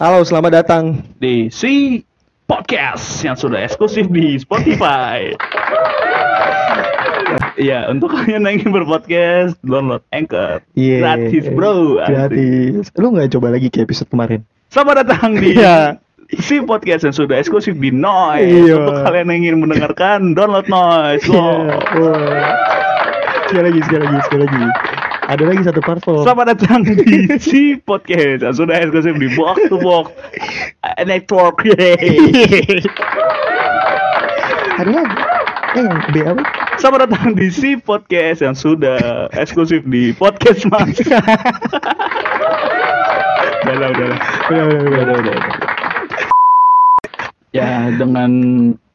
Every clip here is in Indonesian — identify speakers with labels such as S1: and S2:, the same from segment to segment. S1: Halo, selamat datang.
S2: di si podcast yang sudah eksklusif di Spotify. Iya, untuk kalian yang ingin berpodcast, download Anchor.
S1: Iya.
S2: Gratis, bro. Asli.
S1: Gratis. Lu nggak coba lagi ke episode kemarin?
S2: Selamat datang di
S1: Iya.
S2: si podcast yang sudah eksklusif di Noise.
S1: Iya.
S2: Untuk kalian yang ingin mendengarkan, download Noise. Wow.
S1: Iya. Wah. Sekali lagi, sekali lagi, sekali lagi. Ada lagi satu parfum.
S2: Selamat datang di si podcast yang sudah eksklusif di Box to Box Network.
S1: Eh. Ada lagi. Eh, yang B apa?
S2: Selamat datang di si podcast yang sudah eksklusif di podcast mas. udah lah, udah lah.
S1: Udah, udah, udah, udah, udah.
S2: Ya dengan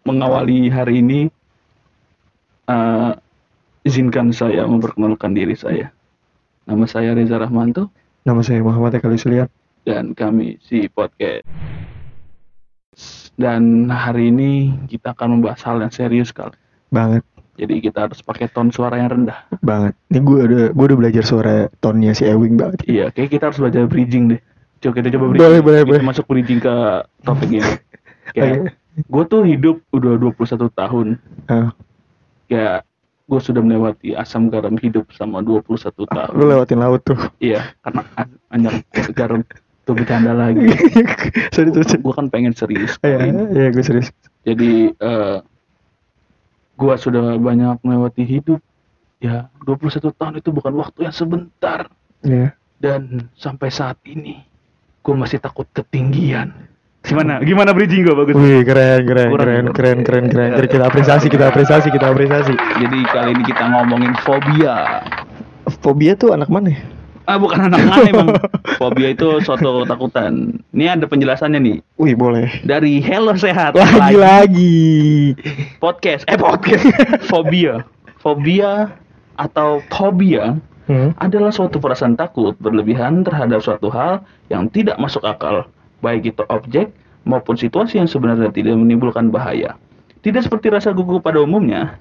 S2: mengawali hari ini, eh, izinkan saya memperkenalkan diri saya. Nama saya Reza Rahmanto
S1: Nama saya Muhammad Eka Suliar.
S2: dan kami si podcast. Dan hari ini kita akan membahas hal yang serius kali.
S1: Banget,
S2: Jadi kita harus pakai ton suara yang rendah.
S1: banget. Ini gue udah, gue udah belajar suara tonnya si Ewing banget.
S2: Iya, kayak kita harus belajar bridging deh. Coba kita coba bridging.
S1: Boleh, boleh,
S2: Kita
S1: boleh.
S2: masuk bridging ke topik ini.
S1: Oke.
S2: Kayak gue tuh hidup udah 21 tahun.
S1: Ah,
S2: Kayak gue sudah melewati asam garam hidup sama 21 tahun.
S1: lu lewatin laut tuh.
S2: Iya, karena a- hanya garam tuh bercanda lagi.
S1: sorry, sorry. sorry.
S2: Gue kan pengen serius.
S1: Iya, iya, gue serius.
S2: Jadi eh gue sudah banyak melewati hidup. Ya, 21 tahun itu bukan waktu yang sebentar.
S1: Iya.
S2: dan sampai saat ini gue masih takut ketinggian. Gimana? Gimana bridging gue bagus?
S1: Wih, keren, keren,
S2: Kurang,
S1: keren,
S2: kurang.
S1: keren, keren, keren, keren. Kita apresiasi, kita apresiasi, kita apresiasi.
S2: Jadi kali ini kita ngomongin fobia.
S1: Fobia tuh anak mana? ya?
S2: Ah bukan anak aneh bang. Fobia itu suatu ketakutan. Ini ada penjelasannya nih
S1: Wih, boleh.
S2: dari Hello Sehat
S1: Lagi lagi.
S2: podcast. Eh podcast. fobia. Fobia atau fobia
S1: Hmm?
S2: adalah suatu perasaan takut berlebihan terhadap suatu hal yang tidak masuk akal, baik itu objek maupun situasi yang sebenarnya tidak menimbulkan bahaya. Tidak seperti rasa gugup pada umumnya,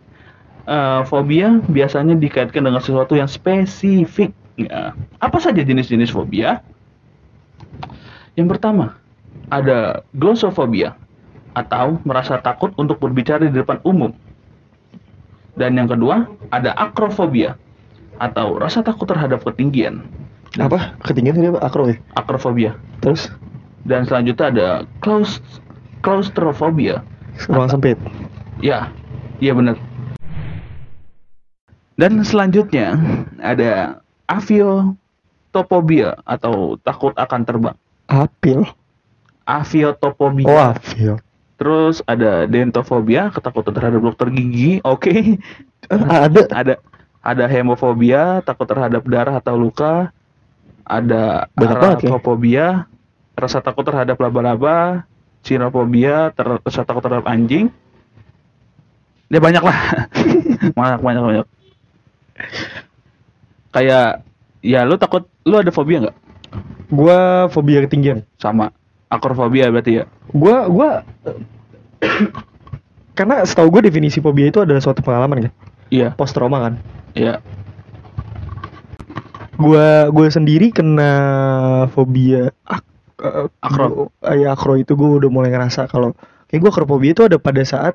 S2: eh, fobia biasanya dikaitkan dengan sesuatu yang spesifik. Ya, Apa saja jenis-jenis fobia? Yang pertama, ada glossophobia atau merasa takut untuk berbicara di depan umum. Dan yang kedua, ada akrofobia atau rasa takut terhadap ketinggian,
S1: Apa? Ketinggian tadi apa? Akro ya?
S2: akrofobia.
S1: Terus
S2: Dan selanjutnya ada claus claustrofobia.
S1: ruang sempit.
S2: Ya, iya benar. Dan selanjutnya ada aviotopobia atau takut akan terbang.
S1: Apil.
S2: Aviotopobia.
S1: Oh, apil.
S2: Terus ada dentofobia, ketakutan terhadap dokter gigi.
S1: Eh,
S2: Oke.
S1: Ada.
S2: ada ada hemofobia, takut terhadap darah atau luka. Ada
S1: Banyak banget ya.
S2: arachnophobia, rasa takut terhadap laba-laba, cinofobia, ter- rasa takut terhadap anjing. Ya banyak lah. banyak banyak banyak. Kayak ya lu takut lu ada fobia nggak?
S1: Gua fobia ketinggian.
S2: Sama akrofobia berarti ya.
S1: Gua gua eh, karena setahu gue definisi fobia itu adalah suatu pengalaman kan,
S2: Iya,
S1: post trauma kan.
S2: iya.
S1: Gua gua sendiri kena fobia ak, eh, gua-
S2: Akro.
S1: eh, ya, akro itu gue udah mulai ngerasa kalau kayak gue akrofobia itu ada pada saat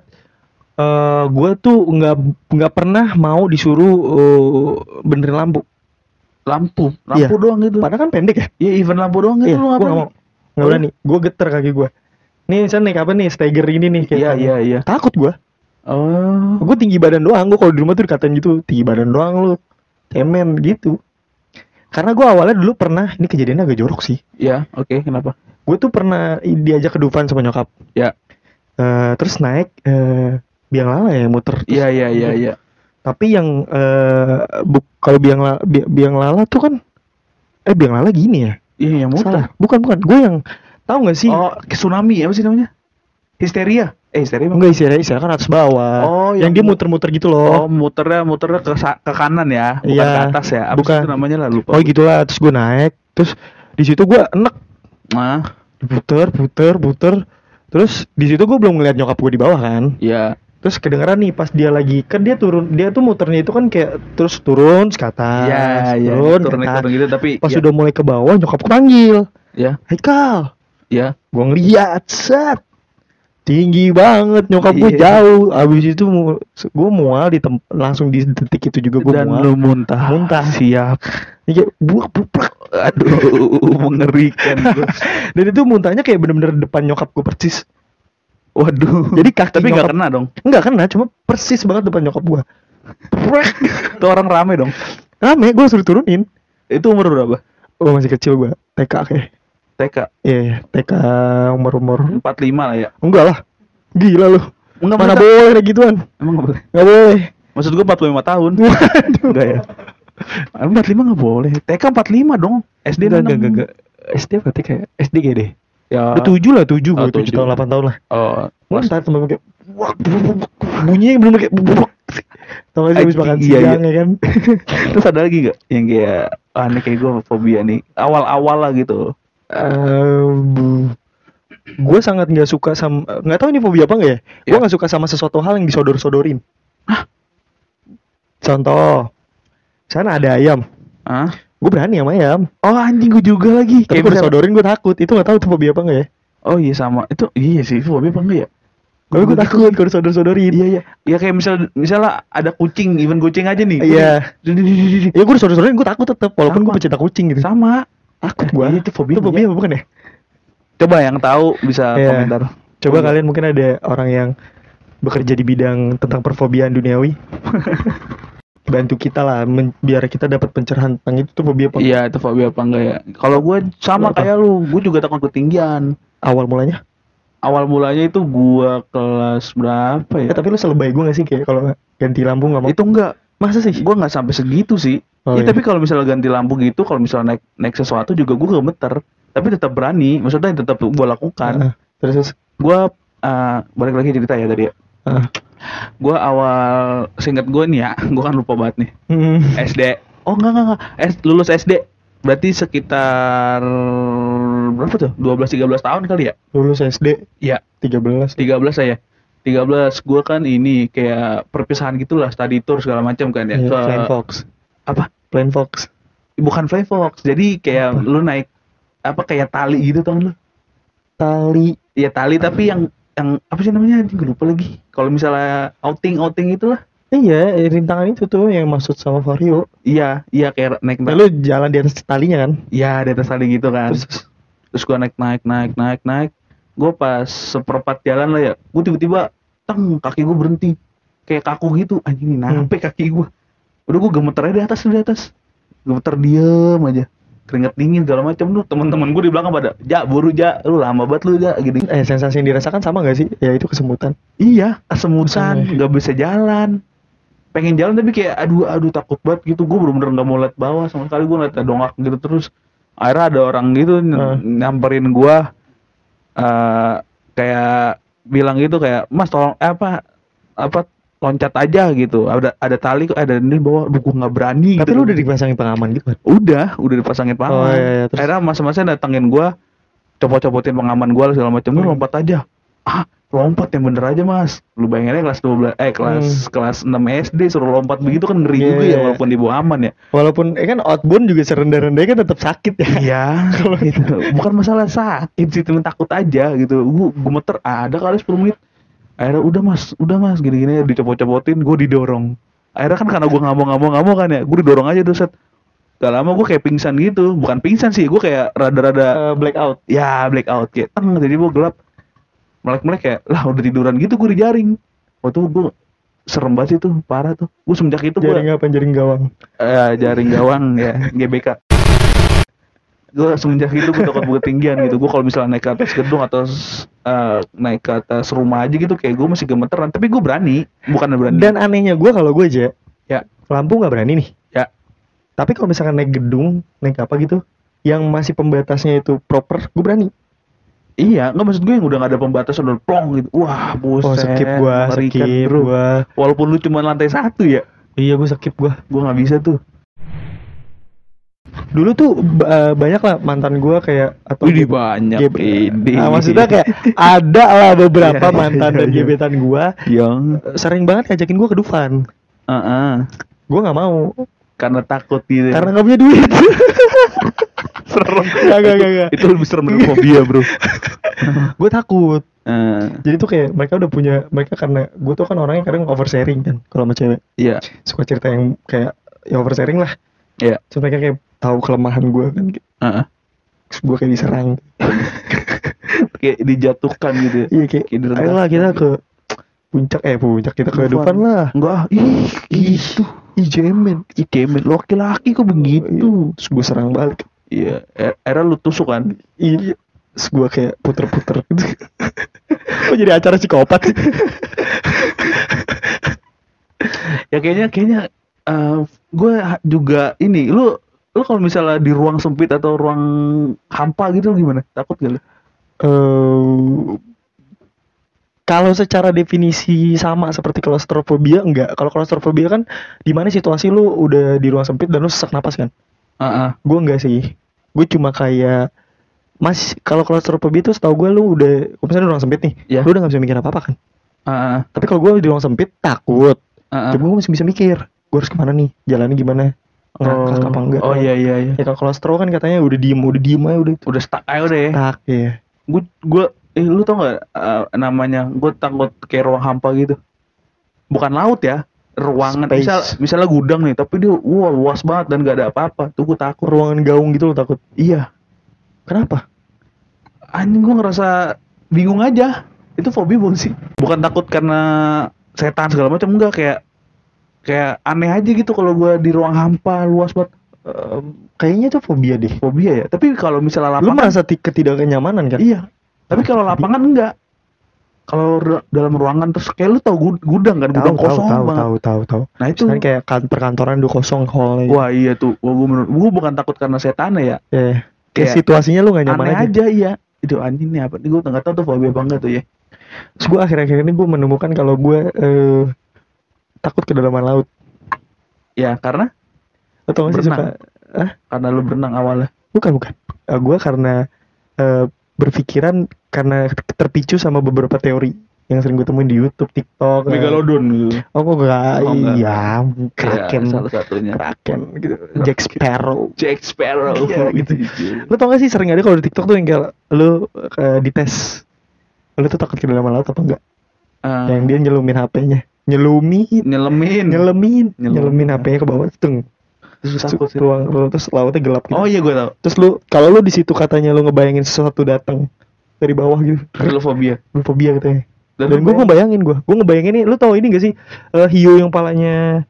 S1: eh gue tuh nggak nggak pernah mau disuruh eh, benerin lampu.
S2: Lampu, lampu doang gitu.
S1: Padahal kan pendek ya.
S2: Iya, even lampu doang gitu
S1: Iya,
S2: lu
S1: gue
S2: ngapain?
S1: nggak mau. Nggak berani. Gue geter kaki gue. Nih misalnya naik apa nih stagger ini nih kayak
S2: Iya,
S1: apa.
S2: iya, iya.
S1: Takut gue.
S2: Oh.
S1: Gue tinggi badan doang. Gue kalau di rumah tuh dikatain gitu tinggi badan doang lu. Temen gitu. Karena gue awalnya dulu pernah ini kejadiannya agak jorok sih.
S2: Ya, oke, kenapa?
S1: Gue tuh pernah i- diajak ke Dufan sama nyokap.
S2: Ya.
S1: Eh, terus naik eh, biang lala ya muter. Terus-
S2: Iya, iya, iya, iya.
S1: Tapi yang eh bu- kalau biang lala, biang lala tuh kan eh biang lala gini ya.
S2: Iya, yang
S1: Salah.
S2: muter.
S1: Bukan bukan. Gue yang tahu nggak sih?
S2: Oh, ke tsunami apa sih namanya? Histeria. Eh, histeria bang.
S1: Enggak istirahat istirahat kan atas bawah.
S2: Oh,
S1: yang,
S2: yang
S1: dia
S2: mu-
S1: muter-muter gitu
S2: Oh,
S1: loh.
S2: muternya muternya ke sa- ke kanan ya, bukan
S1: Iya,
S2: ke atas ya. Apa
S1: bukan.
S2: sih itu namanya lah
S1: Oh,
S2: lupa.
S1: gitulah. Terus gue naik. Terus di situ gue enek
S2: Nah,
S1: puter puter puter. Terus di situ gue belum ngeliat nyokap gue di bawah kan.
S2: ya.
S1: Terus kedengeran nih pas dia lagi kan dia turun dia tuh muternya itu kan kayak terus turun ke atas,
S2: Iya,
S1: Ah,
S2: iya.
S1: turun, ke
S2: Turun naik
S1: atas.
S2: turun gitu tapi
S1: Pas
S2: ya,
S1: udah mulai ke bawah nyokap gue panggil,
S2: ya.
S1: Haikal,
S2: ya
S1: Gue ngeliat, set. Tinggi banget, nyokap gue
S2: Iya.
S1: jauh. Abis itu gue mual di tem- langsung di detik itu juga gue
S2: dan
S1: mual.
S2: lu muntah
S1: Muntah.
S2: siap
S1: Ini kayak buak buak.
S2: aduh mengerikan gua.
S1: Dan itu muntahnya kayak bener-bener depan nyokap gue persis.
S2: waduh
S1: Jadi kaki
S2: tapi nggak
S1: nyokap-
S2: kena dong
S1: Enggak kena, cuma persis banget depan nyokap gue.
S2: itu orang rame dong
S1: Rame, gue suruh turunin.
S2: itu umur berapa
S1: Gue masih kecil gue, TK kayak.
S2: TK
S1: Iya, TK umur-umur.
S2: 45 lah ya
S1: Enggak lah. Gila lu.
S2: Enggak,
S1: Mana
S2: masa-
S1: boleh kayak gituan.
S2: emang nggak boleh
S1: Enggak boleh.
S2: maksud gua 45 tahun
S1: Waduh.
S2: enggak ya 45 nggak boleh TK 45 dong SD
S1: Enggak,
S2: enam.
S1: enggak, enggak, enggak. SD berarti kayak SD kayak deh.
S2: ya
S1: Udah tujuh lah, tujuh
S2: Oh,
S1: gue, tujuh
S2: tujuh.
S1: tahun, delapan tahun lah.
S2: oh, kelas-
S1: Masa sampai kayak wak, buk, buk, buk. bunyinya yang belum kayak buk, buk. Tau gak sih habis
S2: Anjing,
S1: makan
S2: iya,
S1: siang
S2: iya.
S1: ya kan?
S2: Terus ada lagi gak yang kayak ah ini kayak gue fobia nih awal-awal lah gitu.
S1: gue sangat nggak suka sama nggak tahu ini fobia apa nggak ya gue
S2: Ya.
S1: nggak suka sama sesuatu hal yang disodor-sodorin contoh sana ada ayam
S2: Hah?
S1: gue berani sama ayam
S2: Oh anjing gue juga lagi.
S1: tapi
S2: Kayak
S1: gue
S2: berapa-
S1: sodorin gue takut itu nggak tahu itu fobia apa nggak ya
S2: Oh iya sama itu iya sih itu fobia apa enggak ya?
S1: tapi gue takut gue disodor-sodorin
S2: Iya iya. Ya kayak misal misalnya ada kucing, even kucing aja nih.
S1: Iya.
S2: Kucing.
S1: Ya gue disodor-sodorin gue takut tetap walaupun gue
S2: Sama.
S1: pecinta kucing gitu.
S2: Sama. Aku
S1: Gua.
S2: Iya, itu fobia.
S1: Itu fobia
S2: ya.
S1: apa bukan ya?
S2: Coba yang tahu bisa
S1: Iya.
S2: komentar.
S1: Coba
S2: Fobia.
S1: kalian mungkin ada orang yang bekerja di bidang tentang perfobiaan duniawi. Bantu kita lah men- biar kita dapat pencerahan tentang itu tuh fobia apa.
S2: Iya itu fobia apa enggak ya? Kalau gue
S1: Lu
S2: sama
S1: apa?
S2: kayak lu, gue juga takut ketinggian.
S1: Awal mulanya.
S2: Awal mulanya itu gua kelas berapa ya?
S1: Eh tapi lu selebay gue gak sih kayak kalau ganti lampu gak mau.
S2: itu enggak
S1: Masa sih?
S2: gue nggak sampai segitu sih
S1: Oh,
S2: Ya,
S1: iya.
S2: tapi kalau misalnya ganti lampu gitu kalau misalnya naik naik sesuatu juga gue gemeter tapi tetap berani maksudnya tetap gue lakukan
S1: Ah, terus terus.
S2: gue eh, balik lagi cerita ya tadi ya
S1: Ah.
S2: gue awal singkat gue nih ya gue kan lupa banget nih
S1: Hmm.
S2: SD oh enggak enggak, enggak. S, lulus SD berarti sekitar berapa tuh 12 13 tahun kali ya
S1: Lulus SD
S2: ya
S1: 13.
S2: 13 saya 13 gue kan ini kayak perpisahan gitulah study tour segala macam kan ya
S1: Iya,
S2: ke
S1: Plain Fox.
S2: apa
S1: Plain Fox.
S2: bukan fly fox jadi kayak
S1: Apa?
S2: lu naik apa kayak tali gitu tau lu
S1: Tali.
S2: ya tali tapi yang yang apa sih namanya Anjing, gue lupa lagi kalau misalnya outing outing itulah
S1: Iya, eh, rintangan itu tuh yang maksud sama Vario.
S2: iya iya kayak naik
S1: Nah,
S2: naik
S1: lu jalan di atas talinya kan?
S2: iya di atas tali gitu kan
S1: Terus,
S2: terus, gua naik naik naik naik naik gue pas seperempat jalan lah ya gue tiba-tiba teng kaki gue berhenti kayak kaku gitu anjing ini nape kaki gue udah gue gemeter aja di atas di atas gemeter diem aja keringat dingin segala macam tuh teman-teman gue di belakang pada ja buru ja lu lama banget lu ja gini
S1: Eh sensasi yang dirasakan sama gak sih? Ya itu kesemutan.
S2: Iya, kesemutan,
S1: Kesemutan.
S2: nggak bisa jalan. Pengen jalan tapi kayak aduh aduh takut banget gitu. Gue bener-bener nggak mau liat bawah sama sekali. Gue liat dongak gitu terus. Akhirnya ada orang gitu ny-
S1: Ah.
S2: nyamperin gue eh kayak bilang gitu kayak Mas tolong eh, apa apa loncat aja gitu. Ada ada tali kok, ada ini bawah. Aduh gue nggak berani.
S1: Tapi
S2: gitu.
S1: lu udah dipasangin pengaman gitu kan?
S2: udah udah dipasangin pengaman.
S1: Oh, iya, iya, terus?
S2: Akhirnya mas-masnya datangin gue, copot-copotin pengaman gue segala macam. Lu
S1: Hmm.
S2: lompat aja. Ah, lompat yang bener aja mas lu bayanginnya kelas 12 eh kelas kelas 6 SD suruh lompat begitu kan ngeri
S1: Hmm. Iya,
S2: juga
S1: iya,
S2: ya
S1: iya.
S2: walaupun di bawah aman ya
S1: Walaupun eh kan outbound juga serendah-rendahnya kan tetap sakit ya.
S2: iya gitu bukan masalah sakit sih cuma takut aja gitu gua gemeter ada kali 10 menit akhirnya udah mas udah mas gini-gini dicopot-copotin gue didorong akhirnya kan karena gue ngamuk-ngamuk-ngamuk kan ya gue didorong aja tuh set gak lama gue kayak pingsan gitu bukan pingsan sih gue kayak
S1: Eh,
S2: rada-rada
S1: blackout.
S2: ya black out kayak teng jadi gue gelap melek melek kayak lah udah tiduran gitu gue dijaring waktu itu gue serem banget sih tuh parah tuh gue semenjak itu gue
S1: Jaring apa? Jaring gawang.
S2: eh, jaring gawang ya GBK gue semenjak itu gue takut banget ketinggian gitu gue kalau misalnya naik ke atas gedung atau eh, naik ke atas rumah aja gitu kayak gue masih gemeteran tapi gue berani bukan berani
S1: Dan anehnya gue kalau gue aja
S2: ya
S1: lampu nggak berani nih.
S2: ya
S1: Tapi kalau misalkan naik gedung, naik apa gitu, yang masih pembatasnya itu proper, gue berani.
S2: iya nggak maksud gue yang udah gak ada pembatasan udah plong gitu wah buset
S1: Oh skip gue,
S2: mengerikan,
S1: skip
S2: bro.
S1: gue.
S2: walaupun lu cuma lantai satu ya
S1: Iya gue skip gue.
S2: gue nggak bisa tuh
S1: Dulu tuh b- eh, banyak lah mantan gue kayak atau gitu.
S2: Widih, banyak
S1: Gep-
S2: ini.
S1: Ah, maksudnya kayak ada lah beberapa
S2: Iya, iya,
S1: mantan
S2: iya,
S1: dan
S2: iya.
S1: gebetan gue
S2: yang
S1: sering banget ngajakin gue ke Dufan.
S2: uh-uh.
S1: Gue nggak mau
S2: karena takut gitu.
S1: karena nggak punya duit.
S2: teror.
S1: Gak, gak, gak, gak.
S2: Itu lebih serem dari fobia, bro.
S1: gue takut
S2: Eh,
S1: jadi tuh kayak mereka udah punya mereka karena gue tuh kan orangnya kadang oversharing kan kalau sama cewek
S2: Iya,
S1: suka cerita yang kayak ya oversharing lah
S2: iya.
S1: terus mereka kayak tahu kelemahan gue kan
S2: Heeh.
S1: terus gue kayak diserang
S2: Kayak dijatuhkan gitu. ya.
S1: iya kayak
S2: Kayak direndah.
S1: ayolah kita ke puncak eh puncak kita ke depan lah
S2: Enggak. ah. Ih, Oh, iya.
S1: ih
S2: itu.
S1: ih jemen
S2: Ih, demen. Lu Laki-laki kok begitu.
S1: terus gue serang balik
S2: Iya. Er- Era lu tusuk kan?
S1: iya terus gue kayak puter-puter gitu kok jadi acara psikopat sih
S2: Ya kayaknya kayaknya eh gue ha- juga ini lu lu kalau misalnya di ruang sempit atau ruang hampa gitu gimana? Takut gak lu?
S1: eh kalau secara definisi sama seperti klaustrofobia enggak. Kalau klaustrofobia kan di mana situasi lu udah di ruang sempit dan lu sesak napas kan.
S2: Heeh.
S1: Gue enggak sih. Gue cuma kayak Mas, kalau klaustrofobia itu setahu gue lu udah kalau misalnya di ruang sempit nih,
S2: Iya.
S1: lu udah gak bisa mikir apa-apa kan.
S2: Heeh.
S1: Tapi kalau gue di ruang sempit takut.
S2: Heeh.
S1: Tapi gue masih bisa mikir, gue harus kemana nih, jalannya gimana, ngakak apa enggak.
S2: Oh iya iya iya.
S1: Ya kalau klaustro kan katanya udah diem, udah diem aja udah
S2: Udah stuck aja udah ya.
S1: tak ya.
S2: Gue gue eh lu tau gak eh, namanya? Gue takut kayak ruang hampa gitu. Bukan laut ya, ruangan
S1: Space.
S2: misal misalnya gudang nih tapi dia wah luas banget dan gak ada apa-apa tuh gue takut
S1: Ruangan gaung gitu lo takut.
S2: iya
S1: Kenapa?
S2: anjing gue ngerasa bingung aja itu fobia bukan sih bukan takut karena setan segala macam enggak kayak kayak aneh aja gitu kalau gue di ruang hampa luas banget
S1: Em, kayaknya itu fobia deh.
S2: fobia ya tapi kalau misalnya
S1: Lu
S2: lapangan
S1: merasa ti- ketidaknyamanan kan?
S2: iya tapi kalau lapangan enggak kalau ru- dalam ruangan terus kayak lu tau gud- gudang kan
S1: Tahu
S2: gudang
S1: tahu
S2: kosong
S1: tahu
S2: banget
S1: tahu tahu tahu.
S2: nah itu
S1: Kan kayak kan perkantoran udah kosong hallnya.
S2: wah iya tuh wah, gue menurut gue bukan takut karena setan ya
S1: Ya, ya. Kayak
S2: Kayak
S1: situasinya lu gak nyaman
S2: aneh
S1: aja.
S2: aja iya itu anjing nih apa gue nggak tahu tuh fobia apa enggak tuh ya
S1: Terus gue akhir-akhir ini gue menemukan kalau gue eh, takut kedalaman laut.
S2: ya karena
S1: Atau gak sih suka?
S2: Berenang.
S1: Ah,
S2: karena lu berenang awalnya
S1: bukan bukan. gue karena eh, berpikiran karena terpicu sama beberapa teori yang sering gue temuin di YouTube, TikTok. eh.
S2: megalodon gitu
S1: Oh, gue gak.
S2: Oh, enggak.
S1: iya, kraken,
S2: salah satunya
S1: kraken gitu. Jack Sparrow.
S2: Jack Sparrow
S1: Iya, gitu.
S2: gitu
S1: Lu tau gak sih sering ada kalau di TikTok tuh yang kayak lu eh, dites lu tuh takut kedalaman laut apa enggak?
S2: Ah.
S1: Yang dia nyelumin HP-nya. Nyelumin,
S2: nyelemin
S1: nyelemin,
S2: Nyelumin.
S1: nyelemin HP-nya ke bawah tung.
S2: terus
S1: Su-
S2: takut sih.
S1: Ruang, ruang- terus lautnya gelap gitu.
S2: oh iya gue tau
S1: Terus lu kalau lu di situ katanya lu ngebayangin sesuatu datang dari bawah gitu.
S2: Real fobia
S1: Lu fobia katanya. Dan,
S2: Dan lu
S1: gue
S2: bayang-
S1: ngebayangin gue, gue ngebayangin ini, lu tau ini gak sih Eh, hiu yang palanya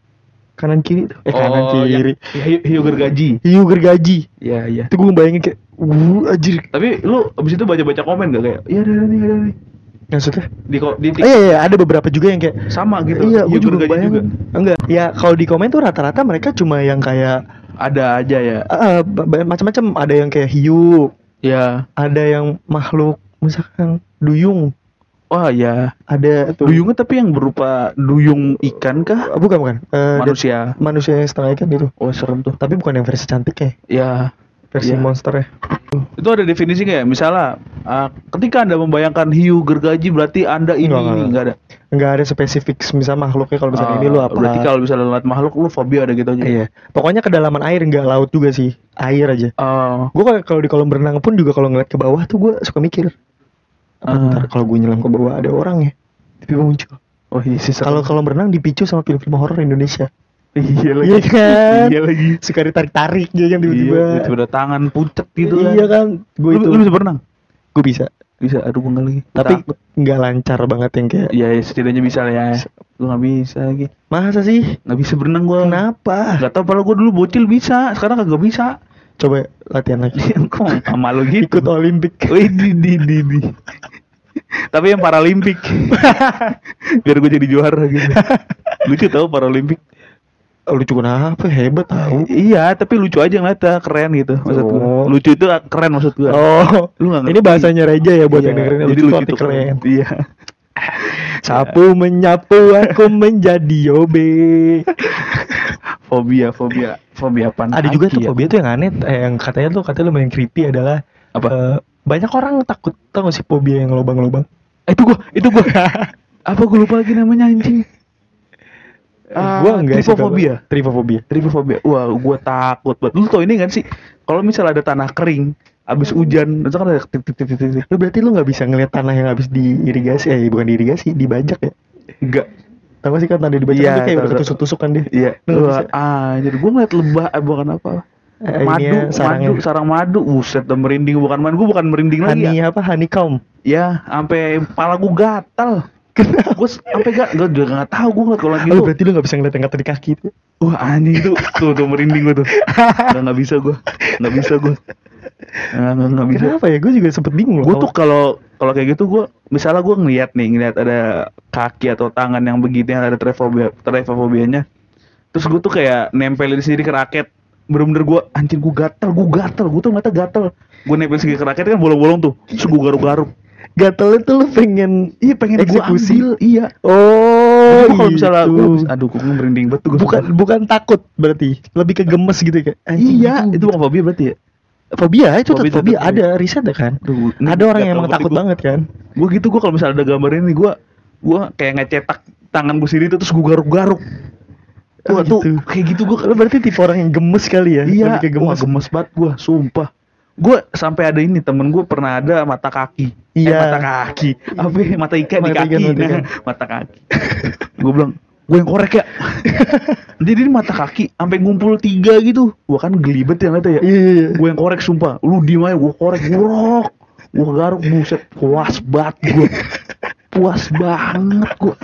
S1: kanan kiri, tuh. eh kanan
S2: Oh, ya.
S1: kiri,
S2: hiu, hiu gergaji
S1: hiu gergaji,
S2: iya iya
S1: itu gue ngebayangin kayak, wuh anjir,
S2: tapi lu abis itu baca-baca komen gak kayak iya ada ada nih ada nih
S1: maksudnya
S2: di, ko- di,
S1: Eh, iya, iya, ada beberapa juga yang kayak
S2: sama gitu
S1: Iya,
S2: Hiu
S1: gue juga
S2: gergaji
S1: bayangin. Enggak, ya kalau di komen tuh rata-rata mereka cuma yang kayak
S2: ada aja ya
S1: eh, ba- ba- macam-macam. Ada yang kayak hiu,
S2: ya
S1: ada yang makhluk misalkan duyung,
S2: wah ya
S1: ada tuh.
S2: duyungnya tapi yang berupa duyung ikan
S1: Eh,
S2: kah
S1: bukan bukan. Eh, dia-
S2: manusia
S1: manusia yang setengah ikan gitu.
S2: wah serem tuh
S1: Tapi bukan yang versi cantik ya,
S2: ya
S1: versi
S2: Iya.
S1: monster ya.
S2: itu ada definisi nggak ya misalnya ah, ketika anda membayangkan hiu gergaji berarti anda ini
S1: Nggak,
S2: ini
S1: nggak.
S2: nggak ada
S1: Enggak ada spesifik misalnya makhluknya kalau misalnya
S2: Ah,
S1: ini lu apa.
S2: berarti kalau misalnya lihat makhluk lu fobia ada gitu aja
S1: Iya. Pokoknya kedalaman air enggak laut juga sih, air aja.
S2: Oh,
S1: Gue kalau- kalau di kolam renang pun juga kalau ngeliat ke bawah tuh gue suka mikir. Apa
S2: Ah.
S1: ntar kalau gue nyelam ke bawah ada orang ya. Tapi muncul.
S2: oh iya sih serem.
S1: Kalau kalau berenang dipicu sama film-film horor Indonesia.
S2: iya lagi
S1: Iya kan?
S2: iya lagi
S1: Suka ditarik-tarik dia kan tiba-tiba.
S2: iya, tiba-tiba ada tangan pucet gitu
S1: Iya kan? Gue
S2: lu,
S1: itu
S2: lu bisa berenang
S1: gue bisa.
S2: bisa aduh gue nggak lagi
S1: Tapi
S2: Takut.
S1: nggak lancar banget yang kayak
S2: ya, ya, setidaknya bisa lah ya lu nggak bisa lagi
S1: masa sih?
S2: nggak bisa berenang gue
S1: Kenapa?
S2: Gak tau padahal gue dulu bocil bisa Sekarang kagak bisa
S1: Coba latihan lagi.
S2: Kok sama lu gitu
S1: Ikut Olimpik.
S2: Wih, di, di, di, di. Tapi yang Paralimpik. Biar gue jadi juara
S1: iya.
S2: gitu. Lucu tau Paralimpik.
S1: Lucu kenapa? Hebat tau.
S2: Iya, tapi lucu aja ngeliatnya, keren gitu maksud gua.
S1: Oh.
S2: Lucu itu ah, keren maksud gue.
S1: Oh,
S2: Lu nggak ngerti.
S1: ini bahasanya Reja ya buat yang
S2: Iya,
S1: dengerin
S2: jadi
S1: tuh
S2: lucu
S1: arti
S2: tuh keren.
S1: keren.
S2: Iya.
S1: Sapu menyapu aku menjadi yobe.
S2: Fobia, fobia, fobia apa?
S1: Ada Ah, juga tuh fobia tuh yang aneh, eh, yang katanya tuh katanya lumayan creepy adalah
S2: Apa?
S1: eh, banyak orang takut tau gak sih fobia yang lobang-lobang?
S2: Eh, itu gua, itu gua. apa gue lupa lagi namanya anjing? Ah,
S1: Eh, gua enggak sih. kalau-
S2: tripofobia.
S1: Tripofobia.
S2: Tripofobia. Wah, gue takut banget. Lu tau ini kan sih? Kalau misalnya ada tanah kering, abis
S1: Hmm.
S2: hujan, itu kan ada tip tip tip tip tip.
S1: Lu berarti lu nggak bisa ngelihat tanah yang habis diirigasi, eh bukan diirigasi, dibajak ya?
S2: Enggak.
S1: Tahu nggak sih kan tanda dibajak
S2: Iya,
S1: itu kayak
S2: tahu,
S1: udah
S2: tahu.
S1: ketusuk-tusuk kan dia.
S2: Iya.
S1: Lu nggak
S2: Wah,
S1: bisa.
S2: anjir, gue ngeliat lebah, eh, bukan apa.
S1: Eh,
S2: madu,
S1: ininya, sarangnya.
S2: madu, sarang madu. Buset, udah merinding. Bukan madu, gue bukan merinding lagi ya.
S1: Honey apa? Honeycomb.
S2: Ya, sampai kepala gue gatal. Gue sampai gak, gue juga gak tahu gue ngeliat kalau lagi
S1: Lu
S2: itu.
S1: berarti lu nggak bisa ngeliat yang kata di kaki itu.
S2: Wah anjing tuh, tuh, tuh merinding gue tuh. Gak, gak bisa gue, gak bisa gue. Gak, gak, gak bisa.
S1: Kenapa ya? Gue juga sempet bingung. loh.
S2: Gue tuh kalau kalau kayak gitu gue, misalnya gue ngeliat nih, ngeliat ada kaki atau tangan yang begini ada trefobia, trefofobianya. Terus gue tuh kayak nempelin sendiri ke raket. Bener-bener gue, anjing gue gatel, gue gatel, gue tuh mata gatel. Gue nempelin sendiri ke raket kan bolong-bolong tuh. Terus gue garuk-garuk.
S1: gatelnya tuh lu pengen
S2: Iya pengen gue
S1: Eksekusi.
S2: ambil, iya.
S1: Oh,
S2: Oh, kalau misalnya
S1: itu.
S2: gue habis, aduh gue merinding banget tuh gua.
S1: bukan bukan takut berarti lebih ke gemes gitu kayak anjing,
S2: iya itu bukan fobia berarti ya
S1: fobia itu
S2: Fobia
S1: fobia,
S2: itu
S1: fobia
S2: tetap-
S1: ada riset ya kan
S2: Aduh,
S1: ada
S2: ini
S1: orang
S2: gatel
S1: yang emang takut
S2: gua.
S1: banget kan
S2: gue gitu gue kalau misalnya ada gambar ini gue gue kayak ngecetak tangan gue sendiri tuh, terus gue garuk-garuk
S1: Oh,
S2: Wah tuh
S1: gitu.
S2: kayak gitu gue
S1: lo berarti tipe orang yang gemes kali ya
S2: iya
S1: lebih ke
S2: wah,
S1: gemes
S2: gemes banget gue sumpah gue sampai ada ini temen gue pernah ada mata kaki Eh,
S1: Iya.
S2: mata kaki apa ya, mata ikan di
S1: Mata
S2: kaki
S1: ikan, mata ikan.
S2: Nah, mata kaki gue bilang gue yang korek ya jadi ini mata kaki sampai ngumpul tiga gitu wah kan gelibet ya ngeliatnya ya
S1: iya iya iya.
S2: gue yang korek sumpah lu diem aja gue korek ngurok gue garuk buset puas banget gue puas banget gue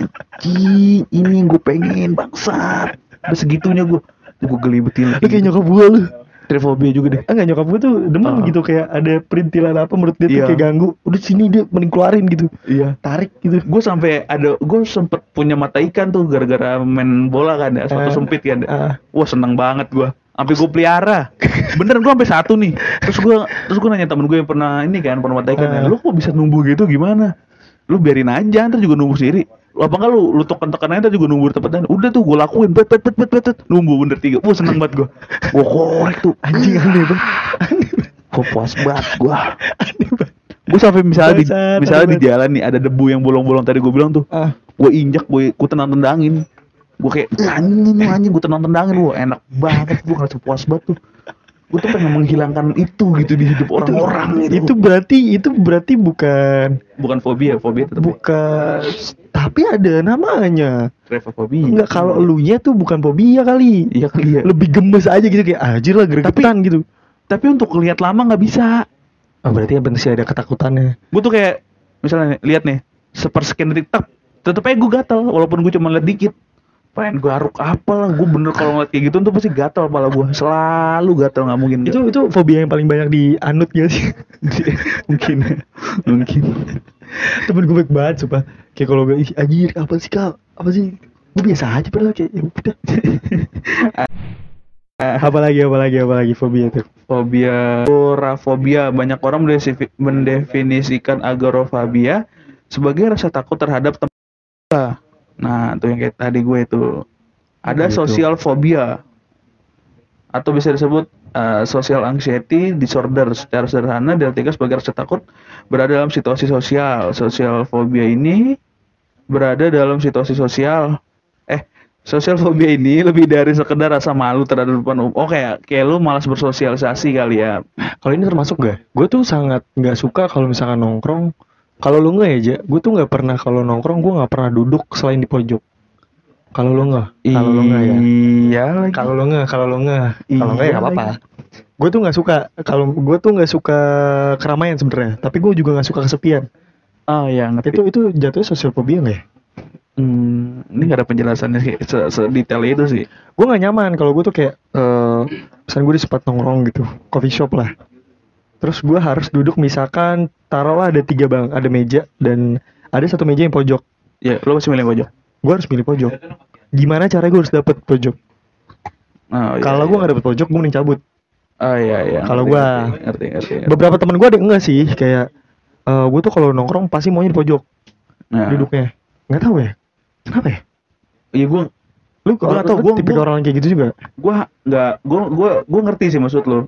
S2: Ci, ini yang gue pengen bangsat udah segitunya gue gue gelibetin
S1: lu kayak nyokap gue lu
S2: trifobia juga deh
S1: enggak Ah, nyokap gue tuh demen
S2: Ah.
S1: gitu kayak ada perintilan apa menurut dia tuh
S2: Iya.
S1: kayak ganggu udah sini dia mending keluarin gitu
S2: iya
S1: tarik gitu
S2: gue sampai ada gue sempet punya mata ikan tuh gara-gara main bola kan ya
S1: Eh,
S2: satu sempit kan ya.
S1: ah.
S2: wah seneng banget gue sampai gue pelihara bener gue sampai satu nih terus gue terus gue nanya temen gue yang pernah ini kan pernah mata ikan
S1: Eh.
S2: ya, lu kok bisa numbuh gitu gimana lu biarin aja ntar juga numbuh sendiri lu apa enggak lu lu tekan tekan aja ntar juga numbuh di tempat lain udah tuh gue lakuin pet pet pet pet pet pet. numbuh bener tiga wah seneng banget gue gue korek tuh anjing aneh banget gue puas banget gue gue sampai misalnya di,
S1: Bangsat,
S2: misalnya
S1: aneh
S2: di
S1: banget.
S2: jalan nih ada debu yang bolong-bolong tadi gue bilang tuh
S1: ah
S2: gue injak gue gue tendang tendangin gue kayak "Ih, anjing lu anjing gue tendang tendangin wah enak banget gue ngerasa puas banget tuh gue tuh pengen menghilangkan itu gitu di hidup orang-orang
S1: itu
S2: gitu.
S1: berarti itu berarti bukan
S2: bukan fobia fobia ya. tetap
S1: bukan tapi ada namanya
S2: trefofobia
S1: Enggak kalau elunya tuh bukan fobia kali.
S2: iya kan iya
S1: Lebih gemes aja gitu kayak anjir lah gregetan gitu.
S2: tapi untuk lihat lama nggak bisa
S1: Oh,
S2: Ah,
S1: berarti abang sih ada ketakutannya.
S2: gue tuh kayak misalnya nih, lihat nih sepersekian detik tetap tetep aja gue gatel walaupun gue cuma lihat dikit pengen gue garuk apa lah gue bener kalau ngeliat kayak gitu tuh pasti gatel kepala gue selalu gatel nggak mungkin nggak.
S1: Itu itu fobia yang paling banyak dianut ya sih.
S2: mungkin mungkin
S1: Gitu. Temen gue baik banget sumpah. Kayak kalau gue "Ih, anjir apa sih kak? Apa sih? Gue biasa aja padahal kayak ya udah. apalagi apalagi apalagi fobia tuh.
S2: fobia agorafobia banyak orang mendefi- mendefinisikan agorafobia sebagai rasa takut terhadap tempat nah itu yang kayak tadi gue itu ada
S1: Gitu.
S2: sosial phobia atau bisa disebut eh, social anxiety disorder secara sederhana diartikan sebagai rasa takut berada dalam situasi sosial sosial phobia ini berada dalam situasi sosial eh sosial phobia ini lebih dari sekedar rasa malu terhadap depan umum oh kayak kayak lu malas bersosialisasi kali ya
S1: Kalau ini termasuk gak? Gue tuh sangat nggak suka kalau misalkan nongkrong. Kalau lu nggak ya, Ja, gue tuh nggak pernah kalau nongkrong gue nggak pernah duduk selain di pojok. Kalau lu nggak, kalau lu nggak ya.
S2: iya lagi
S1: Kalau lo nggak, kalau lo nggak, kalau nggak ya
S2: Iya
S1: nggak apa-apa.
S2: lagi.
S1: Gue tuh nggak suka kalau gue tuh nggak suka keramaian sebenarnya. Tapi gue juga nggak suka kesepian.
S2: ah ya ngerti
S1: Itu itu jatuhnya sosial phobia nggak ya?
S2: Hmm, ini gak ada penjelasannya sih, se- sedetail itu sih
S1: Gue nggak nyaman kalau gue tuh kayak, eh misalnya gue di tempat nongkrong gitu, coffee shop lah. Terus gue harus duduk misalkan taruhlah ada tiga bang, ada meja dan ada satu meja yang pojok.
S2: ya lu masih milih pojok
S1: Gue harus milih pojok. Gimana cara gue harus dapet pojok?
S2: Ah, iya,
S1: Kalau
S2: iya.
S1: gue nggak dapet pojok, gue mending cabut.
S2: ah iya iya
S1: Kalau
S2: ngerti,
S1: gua-
S2: ngerti, ngerti ngerti, ngerti.
S1: Beberapa teman gue ada yang enggak sih, kayak eh gue tuh kalau nongkrong pasti maunya di pojok.
S2: nah,
S1: duduknya nggak tahu ya kenapa ya
S2: iya gua
S1: lu
S2: Gua nggak tahu,
S1: lu
S2: gua-
S1: tipikal
S2: gua-
S1: orang kayak gitu juga
S2: gua nggak gua gua gua ngerti sih maksud lo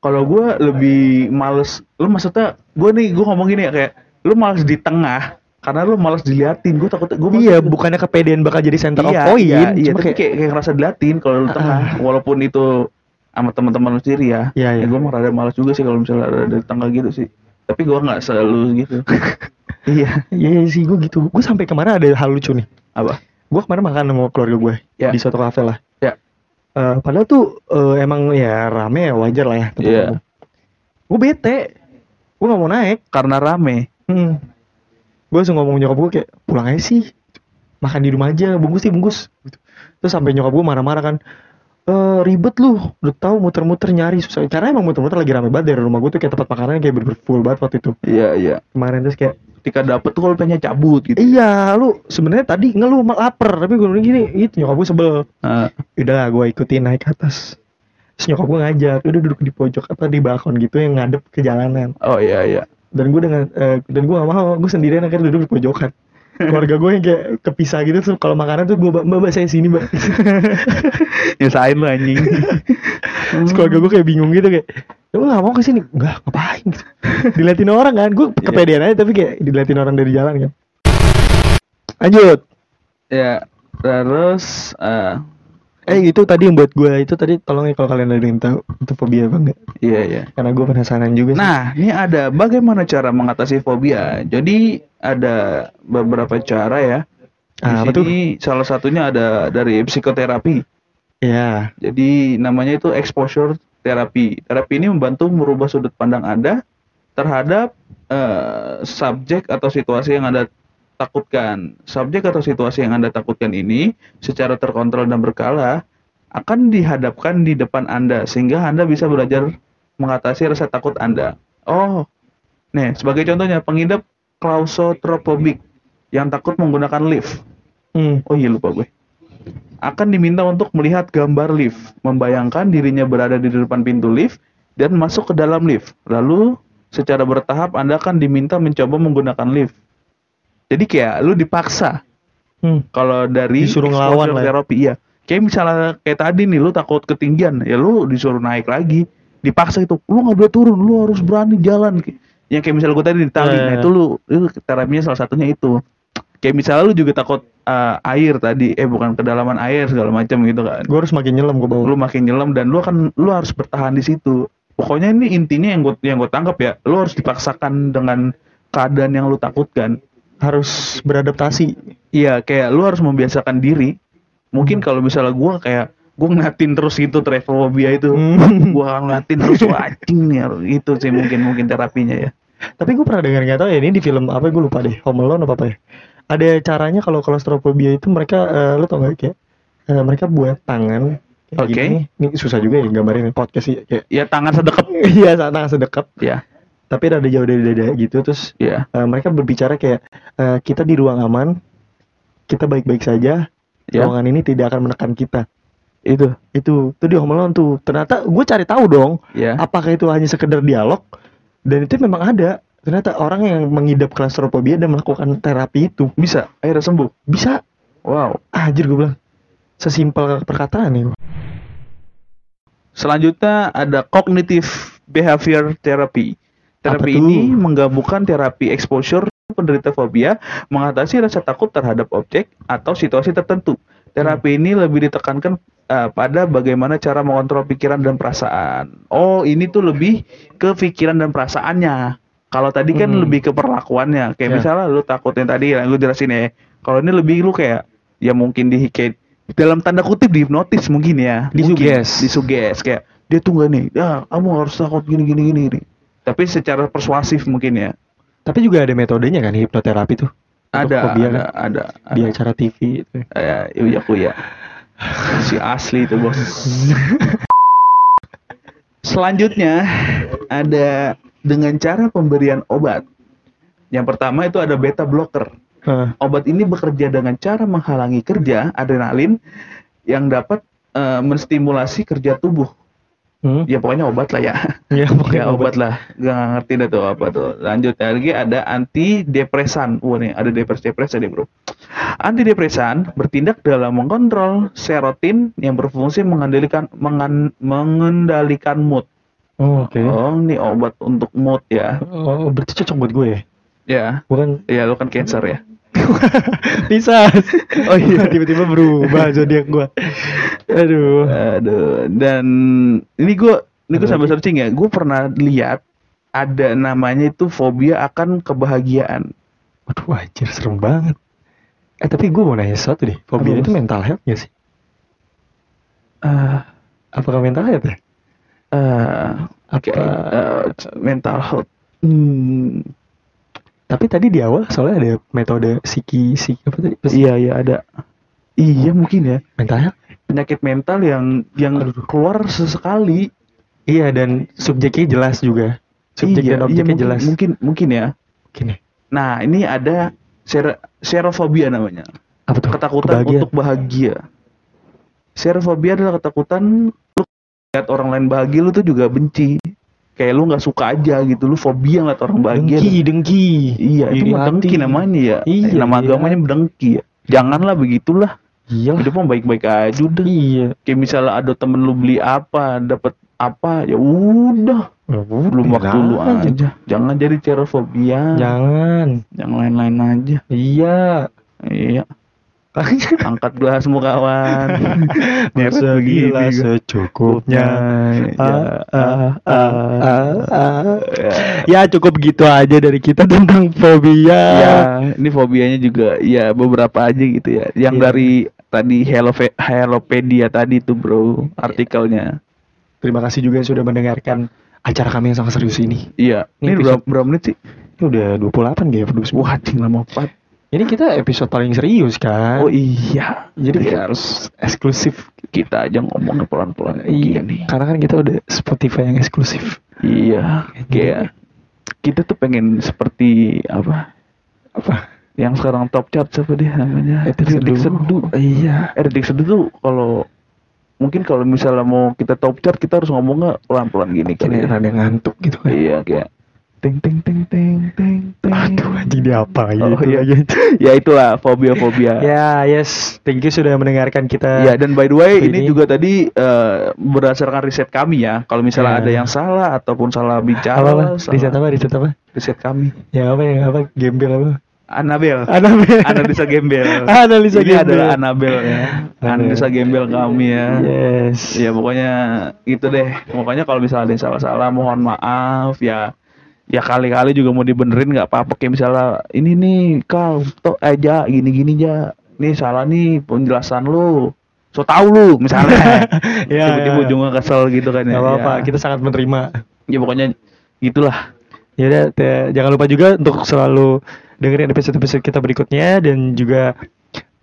S2: kalau gua lebih males lu maksudnya gua nih gua ngomong gini ya kayak lu males di tengah karena lu malas diliatin gue takut gue
S1: Iya, bukannya kepedean bakal jadi center
S2: iya,
S1: of point,
S2: iya, iya,
S1: cuma
S2: tapi kayak, kayak, ngerasa diliatin kalau lu tengah walaupun itu sama teman-teman lu sendiri ya
S1: Iya, iya.
S2: ya gue emang rada malas juga sih kalau misalnya ada di tengah gitu sih tapi gue nggak selalu gitu iya
S1: Iya iya sih gue gitu. Gue sampai kemarin ada hal lucu nih.
S2: apa
S1: Gue kemarin makan sama keluarga gue
S2: Ya.
S1: di suatu kafe lah.
S2: ya
S1: Eh, padahal tuh eh, emang ya rame ya wajar lah ya.
S2: Iya.
S1: Gue bete. Gue nggak mau naik.
S2: karena rame
S1: Hmm. Gue langsung ngomong nyokap gue kayak pulang aja sih. Makan di rumah aja, bungkus sih bungkus. Gitu. Terus sampai nyokap gue marah-marah kan. Eh ribet lu, udah tahu muter-muter nyari susah. Karena emang muter-muter lagi rame banget dari rumah gue tuh kayak tempat makanannya kayak bener full banget waktu itu.
S2: iya iya
S1: Kemarin terus kayak
S2: ketika dapet tuh kalau pengen cabut gitu
S1: Iya, lu sebenarnya tadi ngeluh sama lapar, tapi gue bilang gini, gitu nyokap gue sebel.
S2: Nah,
S1: Udah gue ikutin naik ke atas. Terus nyokap gue ngajak, udah duduk di pojok apa di balkon gitu yang ngadep ke jalanan.
S2: oh iya iya
S1: Dan gue dengan eh, dan gue gak mau, gue sendirian akhirnya duduk di pojokan. Keluarga gue yang kayak kepisah gitu, terus kalau makanan tuh gue mbak mbak saya sini mbak.
S2: nyusahin lu anjing
S1: terus keluarga gue kayak bingung gitu kayak, ya lu gak mau kesini? Enggak, ngapain? Gitu. diliatin orang kan, gue kepedean aja tapi kayak diliatin orang dari jalan kan. Lanjut.
S2: ya terus eh,
S1: Eh itu tadi yang buat gue itu tadi tolong ya kalau kalian ada yang tahu itu fobia apa enggak?
S2: iya iya
S1: Karena gue penasaran juga. sih.
S2: Nah, ini ada bagaimana cara mengatasi fobia. Jadi ada beberapa cara ya. Di
S1: Ah, apa tuh?
S2: sini salah satunya ada dari psikoterapi.
S1: Ya.
S2: Jadi namanya itu exposure therapy. Terapi ini membantu merubah sudut pandang Anda terhadap eh, subjek atau situasi yang Anda takutkan. Subjek atau situasi yang Anda takutkan ini secara terkontrol dan berkala akan dihadapkan di depan Anda sehingga Anda bisa belajar mengatasi rasa takut Anda. Oh. Nih, sebagai contohnya pengidap claustrophobic yang takut menggunakan lift.
S1: Hmm.
S2: Oh iya lupa gue. Akan diminta untuk melihat gambar lift, membayangkan dirinya berada di depan pintu lift dan masuk ke dalam lift. Lalu secara bertahap Anda akan diminta mencoba menggunakan lift. Jadi kayak lu dipaksa
S1: Hmm.
S2: kalau dari
S1: Disuruh
S2: exposure
S1: ngelawan lah ya.
S2: therapy, iya. Kayak misalnya kayak tadi nih lu takut ketinggian, ya lu disuruh naik lagi, dipaksa itu. Lu nggak boleh turun, lu harus berani jalan. Yang kayak misalnya gue tadi ditali,
S1: Eh.
S2: nah itu lu itu terapinya salah satunya itu. Kayak misalnya lu juga takut eh, air tadi, eh bukan kedalaman air segala macam gitu kan.
S1: Gue harus makin nyelam ke bawah.
S2: Lu makin nyelam dan lu akan lu harus bertahan di situ. Pokoknya ini intinya yang gue yang gue tangkap ya, lu harus dipaksakan dengan keadaan yang lu takutkan.
S1: Harus beradaptasi.
S2: Iya, kayak lu harus membiasakan diri. Mungkin kalau misalnya gua kayak gua ngeliatin terus gitu travelphobia itu.
S1: Hmm.
S2: gua akan ngeliatin terus "Wah, anjing nih harus itu sih mungkin mungkin terapinya ya.
S1: Tapi gue pernah dengar nggak tahu ya ini di film apa gue lupa deh. Home Alone apa apa ya. Ada caranya kalau claustrophobia itu mereka eh, lu tau gak kayak eh, mereka buat tangan kayak
S2: Oke.
S1: gini. Ini susah juga ya gambarin podcast sih kayak
S2: Ya tangan sedekap.
S1: iya tangan sedekat
S2: Ya,
S1: tapi ada jauh dari dada gitu terus
S2: ya,
S1: Eh, mereka berbicara kayak eh, kita di ruang aman, kita baik-baik saja,
S2: Ya.
S1: ruangan ini tidak akan menekan kita.
S2: itu.
S1: Itu, itu di Home Alone tuh. Ternyata gue cari tahu dong,
S2: Ya.
S1: apakah itu hanya sekedar dialog? Dan itu memang ada. Ternyata orang yang mengidap claustrophobia dan melakukan terapi itu
S2: Bisa akhirnya sembuh.
S1: bisa Ah,
S2: Wow.
S1: anjir gue bilang sesimpel perkataan itu.
S2: Selanjutnya ada cognitive behavior therapy.
S1: Apa
S2: Terapi
S1: tuh?
S2: ini menggabungkan terapi exposure penderita fobia mengatasi rasa takut terhadap objek atau situasi tertentu.
S1: Hmm.
S2: Terapi ini lebih ditekankan eh, pada bagaimana cara mengontrol pikiran dan perasaan. Oh, ini tuh lebih ke pikiran dan perasaannya. Kalau tadi kan
S1: Hmm.
S2: lebih ke perlakuannya. Kayak
S1: Ya.
S2: misalnya lu takutin tadi yang lu jelasin ya. Kalau ini lebih lu kayak ya mungkin dihikit dalam tanda kutip dihipnotis mungkin ya
S1: Disuges.
S2: Mungkin. disuges kayak dia tuh nggak nih ya kamu harus takut gini gini gini gini tapi secara persuasif mungkin ya
S1: Tapi juga ada metodenya kan hipnoterapi tuh. Untuk
S2: ada
S1: fobia
S2: ada,
S1: kan?
S2: ada ada
S1: di acara TV itu.
S2: ya iya ya si asli itu bos selanjutnya ada dengan cara pemberian obat yang pertama itu ada beta blocker
S1: Eh,
S2: Obat ini bekerja dengan cara menghalangi kerja adrenalin yang dapat eh, menstimulasi kerja tubuh.
S1: hmm?
S2: Ya pokoknya obat lah ya.
S1: Ya,
S2: Ya obat lah. Gak ngerti dah tuh apa tuh. Lanjut lagi ada antidepresan. Wah nih ada depres depres tadi bro. Antidepresan bertindak dalam mengontrol serotin yang berfungsi mengendalikan mengan- mengendalikan mood.
S1: Oh, Oke.
S2: Iya. Oh ini obat untuk mood ya.
S1: Oh, berarti cocok buat gue ya?
S2: Ya.
S1: Gue kan
S2: Ya lu kan cancer ya.
S1: Pisas.
S2: Oh iya.
S1: Tiba-tiba berubah zodiak gua. Aduh.
S2: Aduh, dan ini gue ini gue
S1: Ada
S2: sambil
S1: lagi?
S2: searching ya, gue pernah lihat ada namanya itu fobia akan kebahagiaan.
S1: Aduh anjir serem banget. Eh tapi gue mau nanya sesuatu deh. Fobia
S2: Apa,
S1: itu
S2: Bos?
S1: mental health gak sih?
S2: Eh,
S1: Apakah mental health ya?
S2: eh, oke,
S1: Apa?
S2: eh, mental health. Hmm,
S1: Tapi tadi di awal soalnya ada metode psiki, psiki apa tadi? Psi-
S2: iya iya ada. Iya
S1: Oh.
S2: mungkin ya
S1: Mental health?
S2: penyakit mental yang yang
S1: Aduh.
S2: keluar sesekali.
S1: Iya dan subjeknya jelas juga. Subjek
S2: iya,
S1: dan
S2: iya
S1: objeknya
S2: mungkin,
S1: jelas.
S2: mungkin mungkin ya.
S1: Gini.
S2: Nah ini ada ser serofobia namanya.
S1: Apa tuh?
S2: ketakutan
S1: Kebahagiaan.
S2: untuk bahagia. Serofobia adalah ketakutan lu lihat orang lain bahagia lu tuh juga benci. Kayak lu nggak suka aja gitu, lu fobia ngeliat orang bahagia.
S1: dengki, dengki.
S2: Iya, itu
S1: Iri
S2: mah
S1: hati.
S2: dengki namanya ya.
S1: Iya,
S2: Eh, nama
S1: iya.
S2: agamanya dengki ya. Janganlah begitulah.
S1: Iyalah.
S2: Hidup mah baik-baik aja udah.
S1: Iya.
S2: Kayak misalnya ada temen lu beli apa, dapat apa, ya udah. Belum
S1: Iya
S2: waktu lu aja. Ya. Jangan jadi
S1: kan?
S2: serofobia.
S1: Jangan.
S2: Jangan lain-lain aja.
S1: Iya.
S2: Iya, angkat gelas mu kawan. Nyeret
S1: Segila
S2: begini,
S1: secukupnya.
S2: Ya,
S1: Ah, ah, ah, ah.
S2: ya.
S1: Ya cukup gitu aja dari kita tentang fobia.
S2: Ya, ini fobianya juga ya beberapa aja gitu ya. Yang
S1: Iya.
S2: dari tadi Helove- Helopedia tadi tuh bro artikelnya.
S1: Terima kasih juga yang sudah mendengarkan acara kami yang sangat serius ini.
S2: Iya. Ini
S1: Ini
S2: berapa, berapa menit sih?
S1: Ini udah 28 gak ya? 29.
S2: Wah, anjing lama banget.
S1: Ini kita episode paling serius kan?
S2: Oh iya.
S1: Jadi
S2: Iya,
S1: kita harus eksklusif.
S2: Kita aja ngomongnya pelan-pelan
S1: Iya
S2: nih.
S1: Karena kan kita udah Spotify yang eksklusif.
S2: Iya. Kayak kita tuh pengen seperti apa?
S1: Apa?
S2: Yang sekarang top chart siapa dia namanya?
S1: Etik
S2: Etik
S1: Seduh. Iya.
S2: Erdik Seduh tuh kalau mungkin kalau misalnya mau kita top chart kita harus ngomongnya pelan-pelan gini kali
S1: Kayaknya
S2: ya.
S1: rada ngantuk gitu kan.
S2: Iya kayak ting ting ting ting ting ting.
S1: Aduh anjing dia apa gitu
S2: Oh, iya.
S1: lagi.
S2: ya itulah fobia-fobia.
S1: Ya, yes. Thank you sudah mendengarkan kita.
S2: Ya dan by the way ini
S1: Ini-
S2: juga tadi eh, berdasarkan riset kami ya. Kalau
S1: Ya.
S2: misalnya ada yang salah ataupun salah bicara,
S1: apa apa?
S2: salah-
S1: Riset apa? Riset apa?
S2: riset kami.
S1: Yang apa yang apa? Gembel apa?
S2: Anabel.
S1: Anabel.
S2: Analisa gembel.
S1: Analisa
S2: ini
S1: gembel.
S2: adalah Anabel ya. Analisa gembel kami
S1: Iya.
S2: ya.
S1: Yes.
S2: Ya pokoknya gitu deh. Pokoknya kalau misalnya ada yang salah-salah mohon maaf ya. Ya kali-kali juga mau dibenerin nggak apa-apa kayak misalnya ini nih kal tok aja gini-gini aja. Nih salah nih penjelasan lu. So tau lu misalnya.
S1: Ya,
S2: Tiba-tiba
S1: ya.
S2: ujungnya kesel gitu kan ya.
S1: Gak apa-apa,
S2: Ya.
S1: kita sangat menerima.
S2: ya pokoknya gitulah.
S1: Ya udah, te- jangan lupa juga untuk selalu dengerin episode-episode kita berikutnya dan juga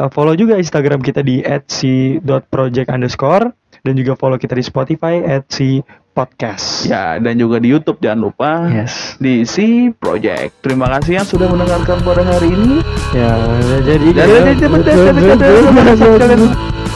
S1: uh, follow juga Instagram kita di @si.project underscore dan juga follow kita di Spotify @si_podcast.
S2: Ya dan juga di YouTube jangan lupa.
S1: Yes.
S2: Di C Project. Terima kasih yang sudah mendengarkan pada hari ini.
S1: Ya, jadi
S2: Dan- dan- dan- dan- dan- dan- dan- dan- dan- dan- dan- dan-